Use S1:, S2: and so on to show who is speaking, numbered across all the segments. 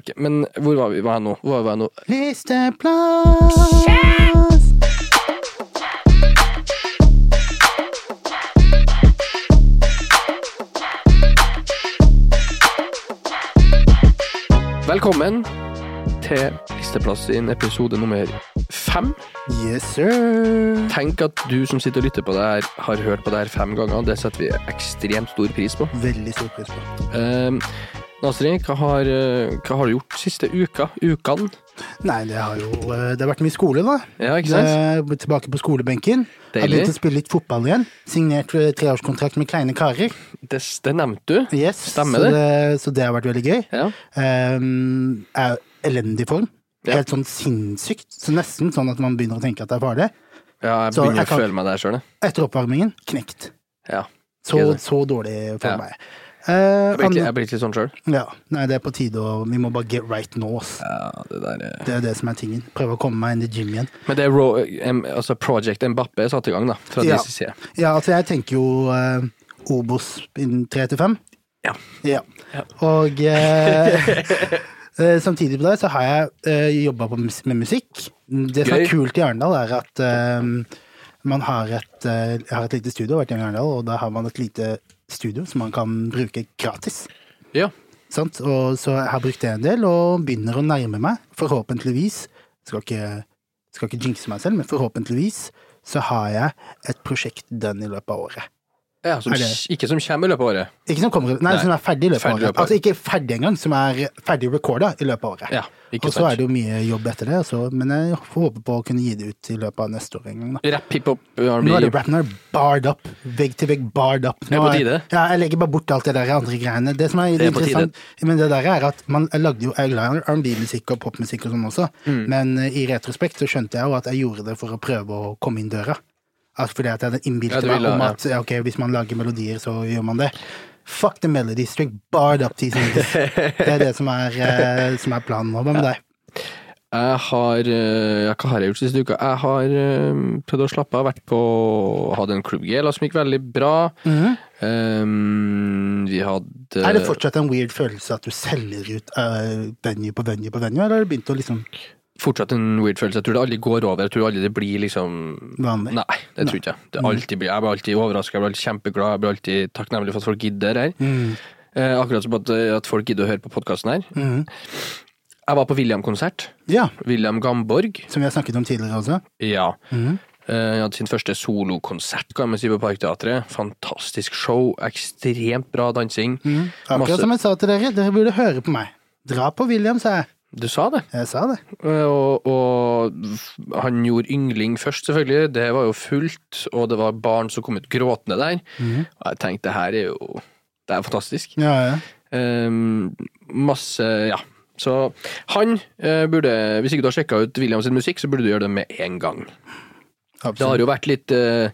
S1: Ok, men hvor var vi? Hva er nå? Hvor var jeg nå?
S2: Listeplass!
S1: Velkommen til Listeplass sin episode nummer fem.
S2: Yes, sir!
S1: Tenk at du som sitter og lytter på det her, har hørt på det her fem ganger. Det setter vi ekstremt stor pris på.
S2: Veldig stor pris på.
S1: Eh, Nasri, hva har, eh, hva har du gjort siste uka? Ukene?
S2: Nei, det har jo eh, Det har vært mye skole, da.
S1: Ja, ikke sant?
S2: Eh, Blitt tilbake på skolebenken. Har
S1: Deilig.
S2: begynt å spille litt fotball igjen. Signert eh, treårskontrakt med Kleine karer.
S1: Det, det nevnte du.
S2: Yes,
S1: Stemmer
S2: så
S1: det.
S2: Så det har vært veldig gøy.
S1: Ja.
S2: Um, er elendig form.
S1: Ja.
S2: Helt sånn sinnssykt. Så nesten sånn at man begynner å tenke at det er farlig.
S1: ja, jeg
S2: Så
S1: begynner
S2: jeg
S1: å
S2: kan-
S1: føle meg der sjøl, jeg.
S2: Etter oppvarmingen knekt.
S1: Ja.
S2: Så,
S1: Ikke det.
S2: så dårlig for
S1: Ja.
S2: meg. Eh,
S1: Jeg blir ikke-
S2: andre-
S1: jeg blir ikke sånn sjøl.
S2: ja, nei, det er på tide, og vi må bare get right nå, ass.
S1: Ja, det der er
S2: Det eh. er det som er tingen. Prøve å komme meg inn i gym igjen.
S1: Men det er Ro em, altså Project Mbappé er satt i gang, da. Fra
S2: Ja.
S1: DCC.
S2: Ja, altså jeg tenker jo eh, Obos innen tre til fem.
S1: Ja.
S2: Ja.
S1: Ja.
S2: Og eh, eh, samtidig med det så har jeg eh, jobba på mus med musikk. Det som
S1: Gøy.
S2: er kult i Arendal, er at eh, man har et, eh, jeg har et lite studio, har vært hjemme i Arendal, og da har man et lite studio som man kan bruke gratis.
S1: Ja.
S2: Sant? Og så jeg har brukt det en del, og begynner å nærme meg, forhåpentligvis Skal ikke, skal ikke jinxe meg selv, men forhåpentligvis så har jeg et prosjekt done i løpet av året.
S1: ja som,
S2: Er det-
S1: kj- ikke som kommer i løpet av året.
S2: Ikke som kommer, nei,
S1: Nei.
S2: som er ferdig i løpet av
S1: Ferdig i
S2: året.
S1: løpet av
S2: Altså ikke ferdig engang, som er ferdig recorda i løpet av året.
S1: Ja, ikke
S2: og så er
S1: sant.
S2: det jo mye jobb etter det, altså, men jeg får håpe på å kunne gi det ut i løpet av neste år en gang. Da.
S1: Rapp, hiphop, R&B
S2: Nå er det rappen her barred up. Vegg til vegg barred up.
S1: er
S2: Nå
S1: på tide.
S2: ja, jeg legger bare bort alt det der andre greiene. Det som er,
S1: Det er på
S2: interessant, men det der er at man jeg lagde jo jeg er glad i R&B-musikk og popmusikk og sånn også,
S1: Mm.
S2: men eh, i retrospekt så skjønte jeg jo at jeg gjorde det for å prøve å komme inn døra. Altså fordi at jeg hadde
S1: Ja,
S2: innbilt
S1: du
S2: meg
S1: ville,
S2: om
S1: ja.
S2: at ja, ok, hvis man lager melodier, så gjør man det. Fuck the melody string, barred up til sin Det er det som er, eh, som er planen nå. Hva med deg?
S1: Jeg har eh, ja, Hva har jeg gjort siste uka? Jeg har eh, prøvd å slappe av. Vært på Hadde en klubbgela som gikk veldig bra. Eh, vi hadde
S2: Mhm. Er det fortsatt en weird følelse at du selger ut eh, venue på venue på venue, eller har du begynt å liksom
S1: fortsatt en weird følelse. Jeg tror det aldri går over. Jeg tror aldri det blir liksom
S2: Vanlig.
S1: Nei, det tror ikke jeg. Det alltid blir, jeg blir alltid overraska, jeg blir alltid kjempeglad, jeg blir alltid takknemlig for at folk gidder her.
S2: Mm.
S1: Eh, akkurat som at, at folk gidder å høre på podkasten her.
S2: Mhm.
S1: Jeg var på William-konsert.
S2: Ja,
S1: William Gamborg.
S2: som vi har snakket om tidligere også.
S1: Ja.
S2: Mhm.
S1: Eh, Han hadde sin første solokonsert kan man si, på Parkteatret. Fantastisk show, ekstremt bra dansing.
S2: Mm. Akkurat
S1: Masse-
S2: som jeg sa til dere, dere burde høre på meg. Dra på William, sa jeg.
S1: Du sa det.
S2: Jeg sa det.
S1: Eh, Og, og han gjorde yngling først, selvfølgelig. Det var jo fullt, og det var barn som kom ut gråtende der. Og jeg tenkte det her er jo Det er fantastisk.
S2: Ja, ja.
S1: Eh, masse Ja. Så han eh, burde Hvis ikke du har sjekka ut Williams sin musikk, så burde du gjøre det med en gang. Det har
S2: Absolutt.
S1: jo vært litt eh,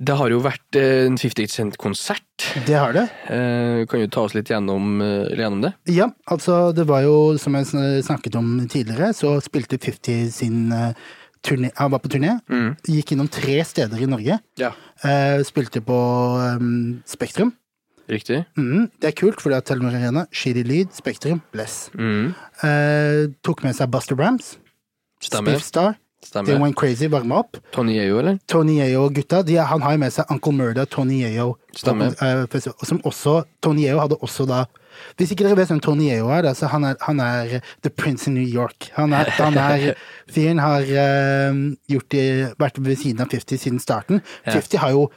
S1: Det har jo vært eh, en 50 Cent-konsert.
S2: Det har det.
S1: Eh, kan jo ta oss litt gjennom, eh, gjennom det.
S2: Ja, altså, det var jo, som jeg sn- snakket om tidligere, så spilte 50 sin eh, turné Han var på turné. Gikk innom tre steder i Norge.
S1: Mm. Ja.
S2: Eh, spilte på eh, Spektrum.
S1: Riktig.
S2: Mhm, det er kult, fordi at Telenor Arena, Shitty Lyd, Spektrum, Bless.
S1: Mm.
S2: Eh, tok med seg Buster Brams,
S1: Stemmer.
S2: Spiff Star, They
S1: Stemmer.
S2: Went Crazy, varma opp.
S1: Tony Yeo, eller?
S2: Tony Yeo og gutta, de, han har jo med seg Uncle Murda, Tony Yeo.
S1: Stemmer.
S2: eh, festival, Som også, Tony Yeo hadde også da Hvis ikke dere vet hvem Tony Yeo er, da, så han er, han er the prince in New York. Han er, han er Fyren har eh, gjort det, vært ved siden av 50 siden starten.
S1: Ja.
S2: 50 har jo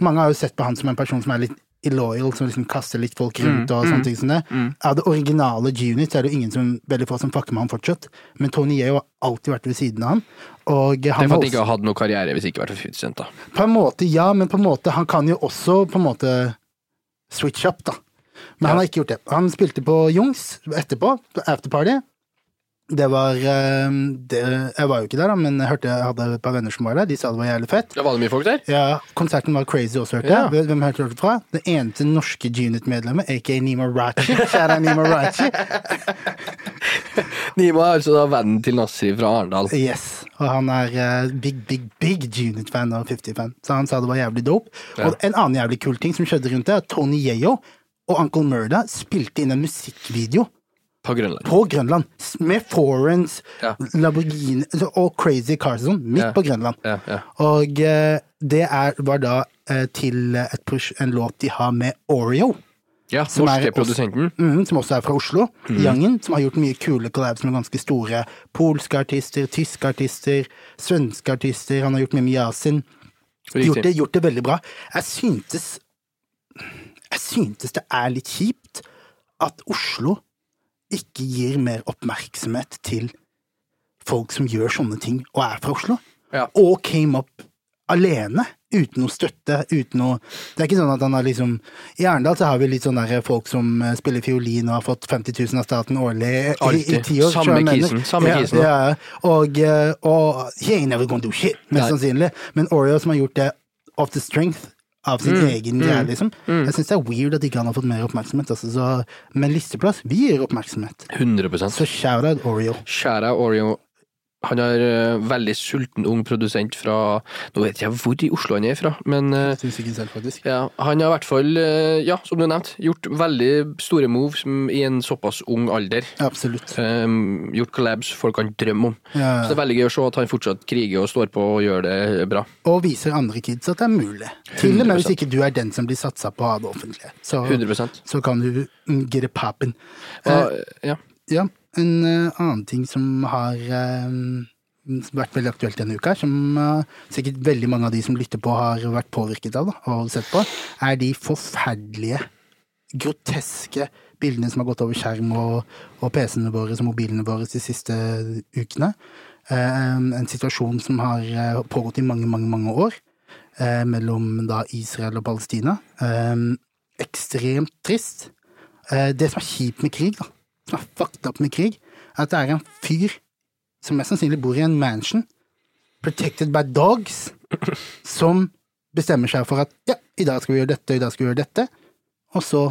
S2: Mange har jo sett på han som en person som er litt illoyal, som liksom kaster litt folk
S1: Mm,
S2: rundt og sånne ting som det. Av det originale G-Unit så er det jo ingen som, veldig få som fucker med han fortsatt, men Tony Yeo har alltid vært ved siden av han. Og
S1: Det
S2: han
S1: er for at
S2: var
S1: jeg
S2: også-
S1: ikke hadde noe karriere hvis jeg ikke vært for 50 Cent, da.
S2: på en måte, ja, men på en måte Han kan jo også på en måte switche opp, da. Men han har ikke gjort det. Han spilte på Jungs etterpå, på afterparty. Det var eh, det, Jeg var jo ikke der, da, men jeg hørte jeg hadde et par venner som var der. De sa det var jævlig fett.
S1: Ja, var det mye folk der?
S2: Ja, Konserten var crazy også, hørte jeg. Hvem hørte dere fra? Det eneste norske G-Unit-medlemmet, aka Nima Rachi. Kjære Nima Rachi.
S1: Nima er altså da vennen til Nasri fra Arendal.
S2: Yes, og han er eh, big, big, big G-Unit-fan og 50-fan. Så han sa det var jævlig dope. Og en annen jævlig kul ting som skjedde rundt det, er at Tony Yeo og Uncle Murda spilte inn en musikkvideo
S1: på Grønland.
S2: på Grønland, s- med foreigns,
S1: Ja.
S2: Lamborghini altså, og crazy cars og sånn, midt
S1: Ja.
S2: på Grønland.
S1: Ja, ja.
S2: Og eh, det er, var da eh, til et pros- en låt de har med Oreo,
S1: ja
S2: Som er
S1: norske
S2: også-
S1: produsenten.
S2: mhm, som også er fra Oslo, Jangen, som har gjort mye kule collabs med ganske store polske artister, tyske artister, svenske artister, han har gjort mye med Yasin. Gjort det,
S1: Riktig.
S2: gjort det veldig bra. Jeg syntes Jeg syntes det er litt kjipt at Oslo ikke gir mer oppmerksomhet til folk som gjør sånne ting og er fra Oslo.
S1: Ja.
S2: Og came up alene, uten noe støtte, uten noe Det er ikke sånn at han har liksom I Arendal så har vi litt sånne der folk som eh, spiller fiolin og har fått 50 000 av staten årlig i, i
S1: Alltid.
S2: ti år.
S1: Samme
S2: skjønner du hva jeg
S1: kisen,
S2: mener?
S1: samme
S2: ja,
S1: kisen.
S2: Ja, og, eh, og he ain't never gonna do shit,
S1: Nei.
S2: mest sannsynlig. Men Oreo som har gjort det of the strength av sin
S1: Mm,
S2: egen greie, liksom. Jeg syns det er weird at ikke han har fått mer oppmerksomhet. Altså, så, men listeplass, vi gir oppmerksomhet.
S1: 100
S2: Så shout-out Oreo.
S1: Skjæra Oreo Han er eh, veldig sulten ung produsent fra Nå vet jeg hvor i Oslo han er fra, men eh,
S2: Syns ikke selv, faktisk.
S1: ja, han har i hvert fall, eh, ja, som du nevnte, gjort veldig store moves mm, i en såpass ung alder.
S2: Absolutt.
S1: Eh, gjort collabs folk kan drømme om.
S2: Ja.
S1: Så det er veldig gøy å se at han fortsatt kriger og står på og gjør det bra.
S2: Og viser andre kids at det er mulig. Til og med
S1: 100%.
S2: hvis ikke du er den som blir satsa på av det offentlige. Så,
S1: 100
S2: så kan du mm, get it poppin'.
S1: og,
S2: Eh,
S1: ja.
S2: Ja, en eh, annen ting som har eh, vært veldig aktuelt denne uka, som eh, sikkert veldig mange av de som lytter på har vært påvirket av da, og sett på, er de forferdelige, groteske bildene som har gått over skjerm og, og PC-ene våre og mobilene våre de siste ukene. Eh, en situasjon som har eh, pågått i mange, mange, mange år eh, mellom da Israel og Palestina. Eh, ekstremt trist. Eh, det som er kjipt med krig, da, som er fucked up med krig, er at det er en fyr som mest sannsynlig bor i en mansion, protected by dogs, som bestemmer seg for at ja, i dag skal vi gjøre dette, i dag skal vi gjøre dette, og så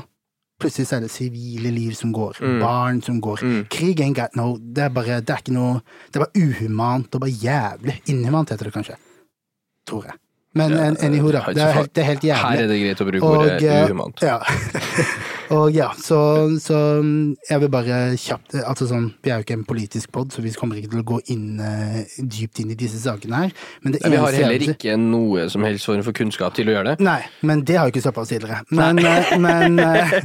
S2: plutselig så er det sivile liv som går,
S1: Mm.
S2: barn som går. Krig ain't got no Det er bare det er ikke noe Det er bare uhumant og bare jævlig. Inhumant heter det kanskje. Tror jeg. Men en- anywho, da.
S1: har ikke
S2: Det er
S1: fått-
S2: helt, det er helt jævlig.
S1: Her er det greit å bruke
S2: Og,
S1: ordet
S2: eh,
S1: uhumant.
S2: Ja. og ja, så, så mm, jeg vil bare kjapt altså sånn, Vi er jo ikke en politisk pod, så vi kommer ikke til å gå inn eh, dypt inn i disse sakene her. Men det
S1: Nei, Vi har
S2: eneste jeg vil
S1: heller
S2: si-
S1: ikke noe som helst form for kunnskap til å gjøre det.
S2: Nei, men det har jo ikke stoppa oss tidligere. Men, eh, men, eh,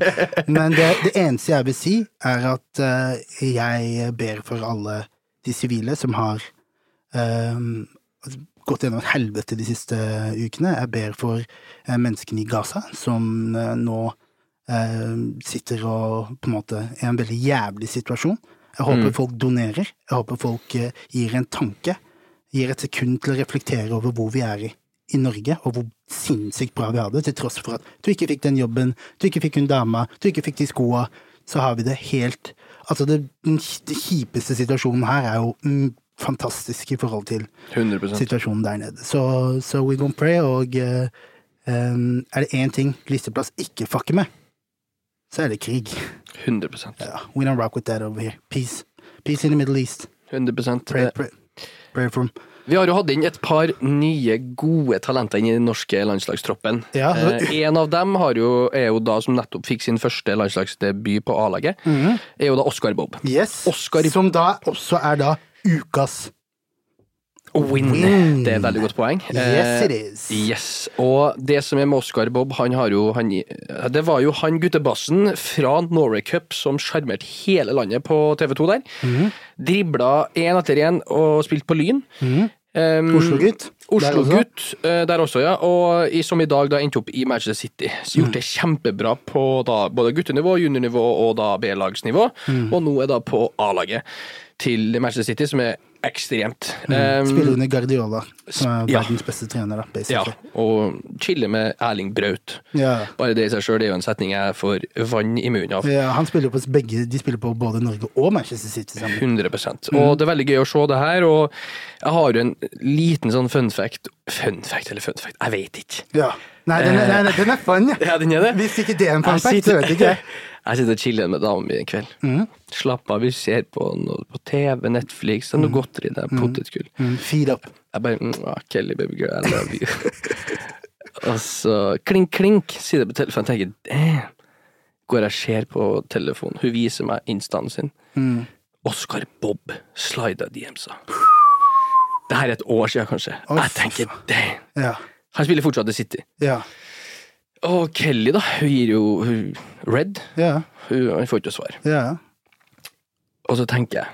S2: men det, det eneste jeg vil si, er at eh, jeg ber for alle de sivile som har eh, gått gjennom et helvete de siste ukene. Jeg ber for eh, menneskene i Gaza som eh, nå eh, sitter og på en måte er i en veldig jævlig situasjon. Jeg håper folk donerer. Jeg håper folk eh, gir en tanke. Gir et sekund til å reflektere over hvor vi er i, i Norge, og hvor sinnssykt bra vi har det, til tross for at du ikke fikk den jobben, du ikke fikk hun dama, du ikke fikk de skoa. Så har vi det helt Altså, det, den kj- det kjipeste situasjonen her er jo mm, fantastisk i forhold til
S1: 100
S2: situasjonen der nede. Så, så we gonna pray, og eh, em, er det én ting listeplass ikke fucker med, så er det krig.
S1: 100
S2: Ja, we don't rock with that over here. Peace. Peace in the Middle East.
S1: 100
S2: Pray, pray, pray for 'em.
S1: Vi har jo hatt inn et par nye gode talenter inn i den norske landslagstroppen.
S2: Ja.
S1: Eh, en av dem har jo, er jo da som nettopp fikk sin første landslagsdebut på A-laget,
S2: Mhm.
S1: er jo da Oscar Bob.
S2: Yes.
S1: Oscar-
S2: Som da også er da ukas
S1: Win.
S2: Oh, Win.
S1: Det er et veldig godt poeng.
S2: Yes,
S1: Eh,
S2: it is.
S1: Yes, og det som er med Oscar Bob, han har jo han, eh, Det var jo han guttebassen fra Norway Cup som sjarmerte hele landet på TV2 der.
S2: Mhm.
S1: Dribla én etter én og spilte på Lyn.
S2: Mhm.
S1: Um,
S2: Oslo-gutt. Der også.
S1: Oslo-gutt eh, der også, ja. Og i, som i dag da endte opp i Manchester City. Så
S2: Mm.
S1: gjort det kjempebra på da, både guttenivå, juniornivå og da B-lagsnivå.
S2: Mm.
S1: Og nå er da på A-laget til Manchester City, som er ekstremt.
S2: Mm.
S1: Um,
S2: Spiller under Guardiola, som er
S1: Ja.
S2: verdens beste trener, da,
S1: ja,
S2: basically.
S1: og chiller med Erling Braut.
S2: altså. Ja.
S1: Bare det i seg sjøl er jo en setning jeg får vann i munnen av.
S2: Ja, han spiller på begge, de spiller på både Norge og Manchester City sammen.
S1: 100
S2: Mm.
S1: Og det er veldig gøy å se det her. Og jeg har jo en liten sånn fun fact Fun fact eller fun fact, jeg vet ikke.
S2: Ja. Nei, den er, nei, nei, den er fun, ja.
S1: Ja, den er det.
S2: Hvis ikke det er en fun
S1: Jeg
S2: fact, så
S1: sitter-
S2: vet ikke jeg. Mm.
S1: Jeg sitter og chiller med dama mi en kveld. Slapp av, vi ser på noe på TV, Netflix, det er noe godteri der, potetgull.
S2: Mm, Feed up.
S1: Jeg bare «Mwah, Kelly, baby girl, I love you. og så klink, klink, sier det på telefonen. Jeg tenker damn, går jeg og ser på telefonen. Hun viser meg instaen sin.
S2: Mm.
S1: Oscar Bob slida DMs-a. Det her er et år siden, kanskje.
S2: Oi,
S1: jeg tenker, damn.
S2: Ja.
S1: Han spiller fortsatt The City.
S2: Ja.
S1: Og Kelly, da. Hun gir jo hun, Red.
S2: Ja.
S1: Hun, han får ikke noe svar.
S2: Ja.
S1: Og så tenker jeg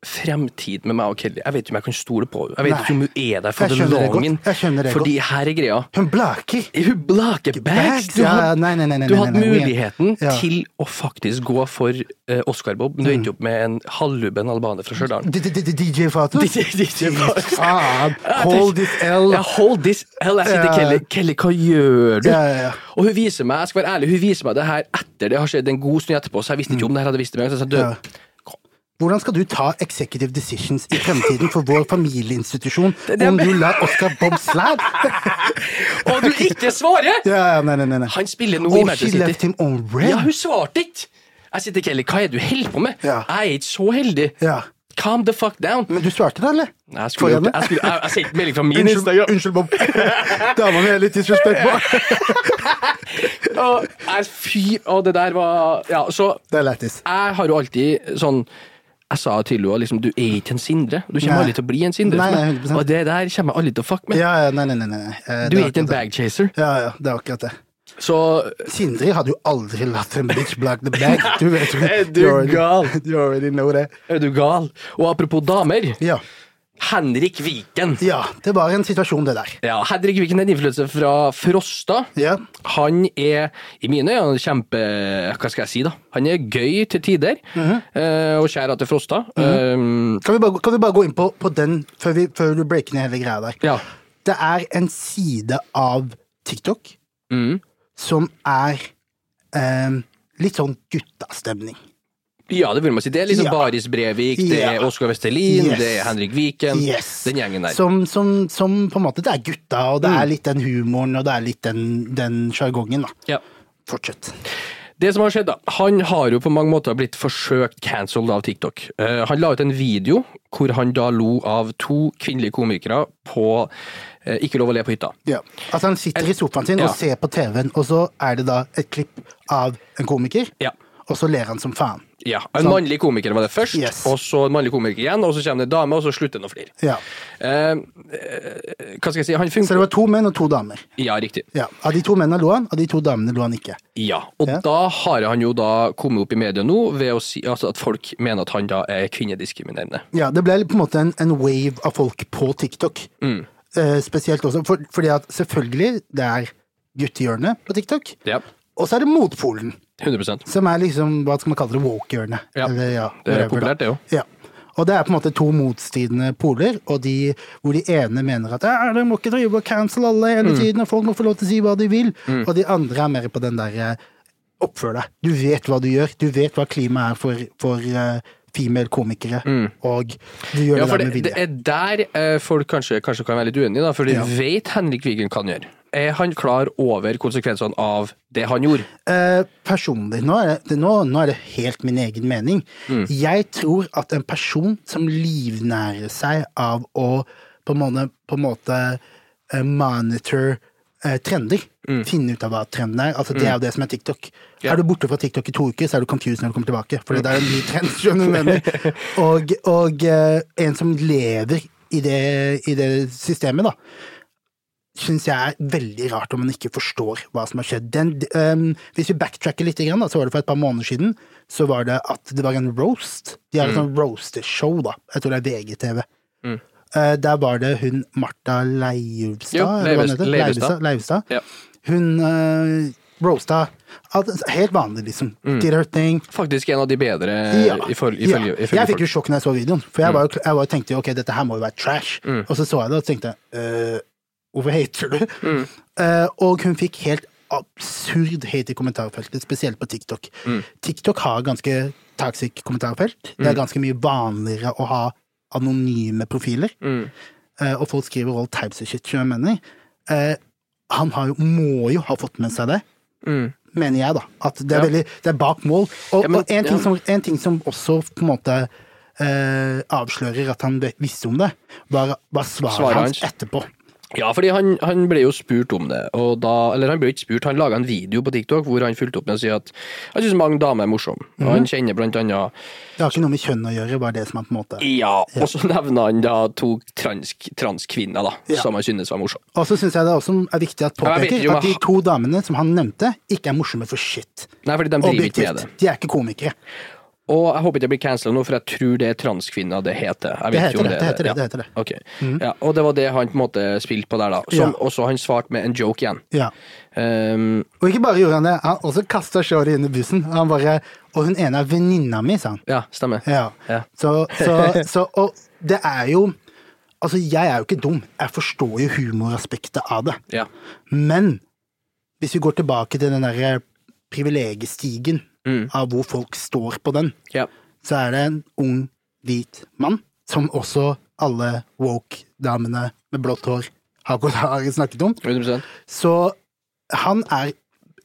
S1: Fremtid med meg og Kelly. Jeg vet ikke om jeg kan stole på henne. Jeg vet
S2: Nei.
S1: ikke om hun er der
S2: Jeg
S1: for the
S2: skjønner det
S1: longen.
S2: godt. Jeg skjønner det
S1: Fordi her er greia.
S2: godt. Hun blaker.
S1: Hun blaker bags! Du
S2: Ja,
S1: hadde,
S2: nei, nei, nei, nei,
S1: du
S2: nei,
S1: hadde
S2: nei, nei.
S1: muligheten
S2: Ja. Mm.
S1: til å faktisk gå for eh, Oscar Bob, men du endte opp med en halvlubben albaner fra Stjørdal.
S2: D- d- d- DJ Fatos?
S1: DJ Fatos.
S2: Faen. Hold this L.
S1: Ja, hold this hell, jeg sitter
S2: Ja.
S1: Kelly. Kelly, hva gjør du?
S2: Ja, ja, ja.
S1: Og hun viser meg, jeg skal være ærlig, hun viser meg det her etter det har skjedd en god stund etterpå, så jeg visste ikke om det her hadde visst det med en gang. Så jeg sa,
S2: Ja.
S1: du,
S2: Hvordan skal du ta executive decisions i fremtiden for vår familieinstitusjon
S1: det jeg
S2: om du lar Oscar Bob slab?
S1: Og du ikke svarer!
S2: Ja, ja, nei, nei, nei. nei.
S1: Han spiller nå i
S2: Og she
S1: Manchester
S2: left
S1: City.
S2: him on red.
S1: Ja, hun svarte ikke! Jeg sitter Kelly, hva er det du holder på med?
S2: Ja.
S1: Jeg er ikke så heldig.
S2: Ja.
S1: Calm the fuck down.
S2: Men du svarte da, eller?
S1: Nei, Jeg skulle,
S2: Får jeg
S1: gjort-
S2: den?
S1: jeg, skulle, jeg, jeg sendte melding fra min
S2: Unnskyld,
S1: Instagram.
S2: unnskyld Bob. Dama mi er litt disrespektfull.
S1: Og jeg, fy, og det der var Ja, så
S2: Det er lættis.
S1: jeg har jo alltid sånn jeg sa til henne liksom, du er ikke en Sindre. Du kommer
S2: Nei.
S1: aldri til å bli en Sindre.
S2: Nei,
S1: for meg.
S2: nei, 100%.
S1: og det der kommer jeg aldri til å fuck med.
S2: Ja, ja, nei, nei, nei. nei.
S1: du
S2: Eh, det
S1: er ikke
S2: akkurat
S1: en
S2: det.
S1: bagchaser.
S2: Ja, ja, det er akkurat det.
S1: Så
S2: Sindre hadde jo aldri latt en bitch black the bag. Du vet jo
S1: Er du
S2: you already-
S1: gal?
S2: You already know det.
S1: er du gal. Og apropos damer.
S2: Ja.
S1: Henrik Viken.
S2: ja, det var en situasjon, det der.
S1: Ja, Henrik Viken er en innflytelse fra Frosta.
S2: Ja.
S1: Han er i mine øyne en kjempe Hva skal jeg si, da? Han er gøy til tider.
S2: Mhm.
S1: eh, og skjæra til Frosta. Eh,
S2: Kan vi bare, kan vi bare gå inn på, på den før, vi, før du breaker ned hele greia der?
S1: ja.
S2: Det er en side av TikTok
S1: Mhm.
S2: som er em, litt sånn guttastemning.
S1: ja, det vil man si. Det er liksom
S2: Ja.
S1: Baris Brevik, det
S2: Ja.
S1: er Oskar Vestelin,
S2: Yes.
S1: det er Henrik Viken.
S2: Yes.
S1: Den gjengen der.
S2: Som, som, som på en måte Det er gutta, og det
S1: Mm.
S2: er litt den humoren, og det er litt den, den sjargongen, da.
S1: Ja.
S2: Fortsett.
S1: Det som har skjedd, da. Han har jo på mange måter blitt forsøkt cancelled av TikTok. Eh, han la ut en video hvor han da lo av to kvinnelige komikere på eh, Ikke lov å le på hytta.
S2: Ja. Altså, han sitter i sofaen sin
S1: Ja.
S2: og ser på TV-en, og så er det da et klipp av en komiker,
S1: Ja.
S2: og så ler han som faen.
S1: Ja, En mannlig komiker var det først,
S2: Yes.
S1: og så en mannlig komiker igjen, og så kommer det en dame, og så slutter den å flire.
S2: Ja.
S1: Eh, eh, hva skal jeg si, han
S2: Så det
S1: funker
S2: var to menn og to damer.
S1: Ja, riktig.
S2: Ja. Av de to mennene lo han, av de to damene lo han ikke.
S1: Ja. Og
S2: Ja.
S1: da har han jo da kommet opp i media nå ved å si altså, at folk mener at han da er kvinnediskriminerende.
S2: Ja, Det ble på en måte en, en wave av folk på TikTok.
S1: Mm.
S2: Eh, spesielt også for, fordi at selvfølgelig, det er guttehjørnet på TikTok,
S1: Ja,
S2: og så er det motpolen,
S1: 100
S2: som er liksom, hva skal man kalle det, woke-hjørnet.
S1: Ja.
S2: Eller, ja,
S1: Det er
S2: whatever, da.
S1: populært, det òg.
S2: Ja. Og det er på en måte to motstridende poler, og de, hvor de ene mener at «Ja, de må ikke drive og cancel alle hele tiden, og folk må få lov til å si hva de vil, og de andre er mer på den der eh, oppfør deg. Du vet hva du gjør, du vet hva klimaet er for, for eh, female komikere, og du gjør
S1: Ja,
S2: det
S1: for
S2: der med
S1: det, det
S2: vilje.
S1: er der eh, folk kanskje, kanskje kan være litt uenige, da, for de
S2: Ja.
S1: vet Henrik Vigen kan gjøre. Er han klar over konsekvensene av det han gjorde?
S2: Eh, personlig, nå er, det, nå, nå er det helt min egen mening. Jeg tror at en person som livnærer seg av å på en måte, på en måte eh, monitor eh, trender, finne ut av hva trenden er, altså det er jo det som er TikTok.
S1: Ja.
S2: Er du borte fra TikTok i to uker, så er du confused når du kommer tilbake, for det er en ny trend, skjønner du hva jeg mener. Og, og eh, en som lever i det, i det systemet, da syns jeg er veldig rart om man ikke forstår hva som har skjedd. Den, d- ehm, hvis vi backtracker litt, grann, da, så var det for et par måneder siden så var det at det var en roast. De har et
S1: Mm.
S2: sånt roaster-show, da. Jeg tror det er VGTV. Eh, der var det hun Martha Leivstad,
S1: Jo,
S2: eller hva
S1: Leivest-
S2: hun heter?
S1: Leivestad.
S2: Leivestad. Leivestad.
S1: Ja.
S2: Hun eh, roasta alt- helt vanlig, liksom.
S1: Mm.
S2: Did her thing.
S1: Faktisk en av de bedre
S2: Ja.
S1: ifølge,
S2: ja.
S1: ifølge, ifølge
S2: Jeg
S1: folk.
S2: fikk jo sjokk når jeg så videoen, for jeg, var jo, jeg var, jo tenkte jo ok, dette her må jo være trash. Og så så jeg det og tenkte «Øh, hvorfor hater du? Eh, og hun fikk helt absurd hate i kommentarfeltet, spesielt på TikTok. TikTok har ganske toxic kommentarfelt. Det er ganske mye vanligere å ha anonyme profiler. Eh, og folk skriver all types of shit, skjønner du hva jeg mener. Eh, han har jo, må jo ha fått med seg det mener jeg, da. At det er,
S1: Mm. Ja.
S2: veldig, det er bak mål. Og,
S1: Ja, men-
S2: og en, ting
S1: ja.
S2: som, en ting som også på en måte eh, avslører at han ve- visste om det, var, var svaret
S1: Svaret
S2: hans
S1: hans.
S2: etterpå.
S1: Ja, fordi han, han ble jo spurt om det, og da, eller han ble jo ikke spurt, han laga en video på TikTok hvor han fulgte opp med å si at han syns mange damer er morsomme, og
S2: Mhm.
S1: han kjenner blant annet
S2: Det har ikke noe med kjønn å gjøre, bare det som er på en måte
S1: Ja, og så nevner han da to trans, transkvinner, da,
S2: Ja.
S1: som han synes var morsomme.
S2: Og så syns jeg det også er viktig at
S1: Ja, jeg vet
S2: påpeker
S1: ikke om
S2: at de
S1: jeg-
S2: to damene som han nevnte, ikke er morsomme for shit.
S1: Nei, fordi de driver ikke med
S2: Objektivt.
S1: det.
S2: De er ikke komikere.
S1: Og jeg håper ikke jeg blir cancela nå, for jeg tror det er transkvinner det heter. Jeg vet
S2: Det
S1: ikke
S2: heter
S1: om
S2: det. det, heter det,
S1: ja.
S2: det, Mm. heter det.
S1: Ok. Ja, og det var det han på en måte spilte på der, da. Som også han svarte med en joke igjen.
S2: Ja.
S1: Ehm,
S2: Og ikke bare gjorde han det, han også kasta Shorty under bussen. Han bare Og hun ene er venninna mi, sa han.
S1: ja, stemmer.
S2: Ja.
S1: Ja.
S2: Så, så, så Og det er jo Altså, jeg er jo ikke dum. Jeg forstår jo humoraspektet av det.
S1: Ja.
S2: Men hvis vi går tilbake til den derre privilegiestigen av hvor folk står på den,
S1: ja.
S2: så er det en ung, hvit mann, som også alle woke-damene med blått hår har gått- har snakket om.
S1: 100
S2: Så han er,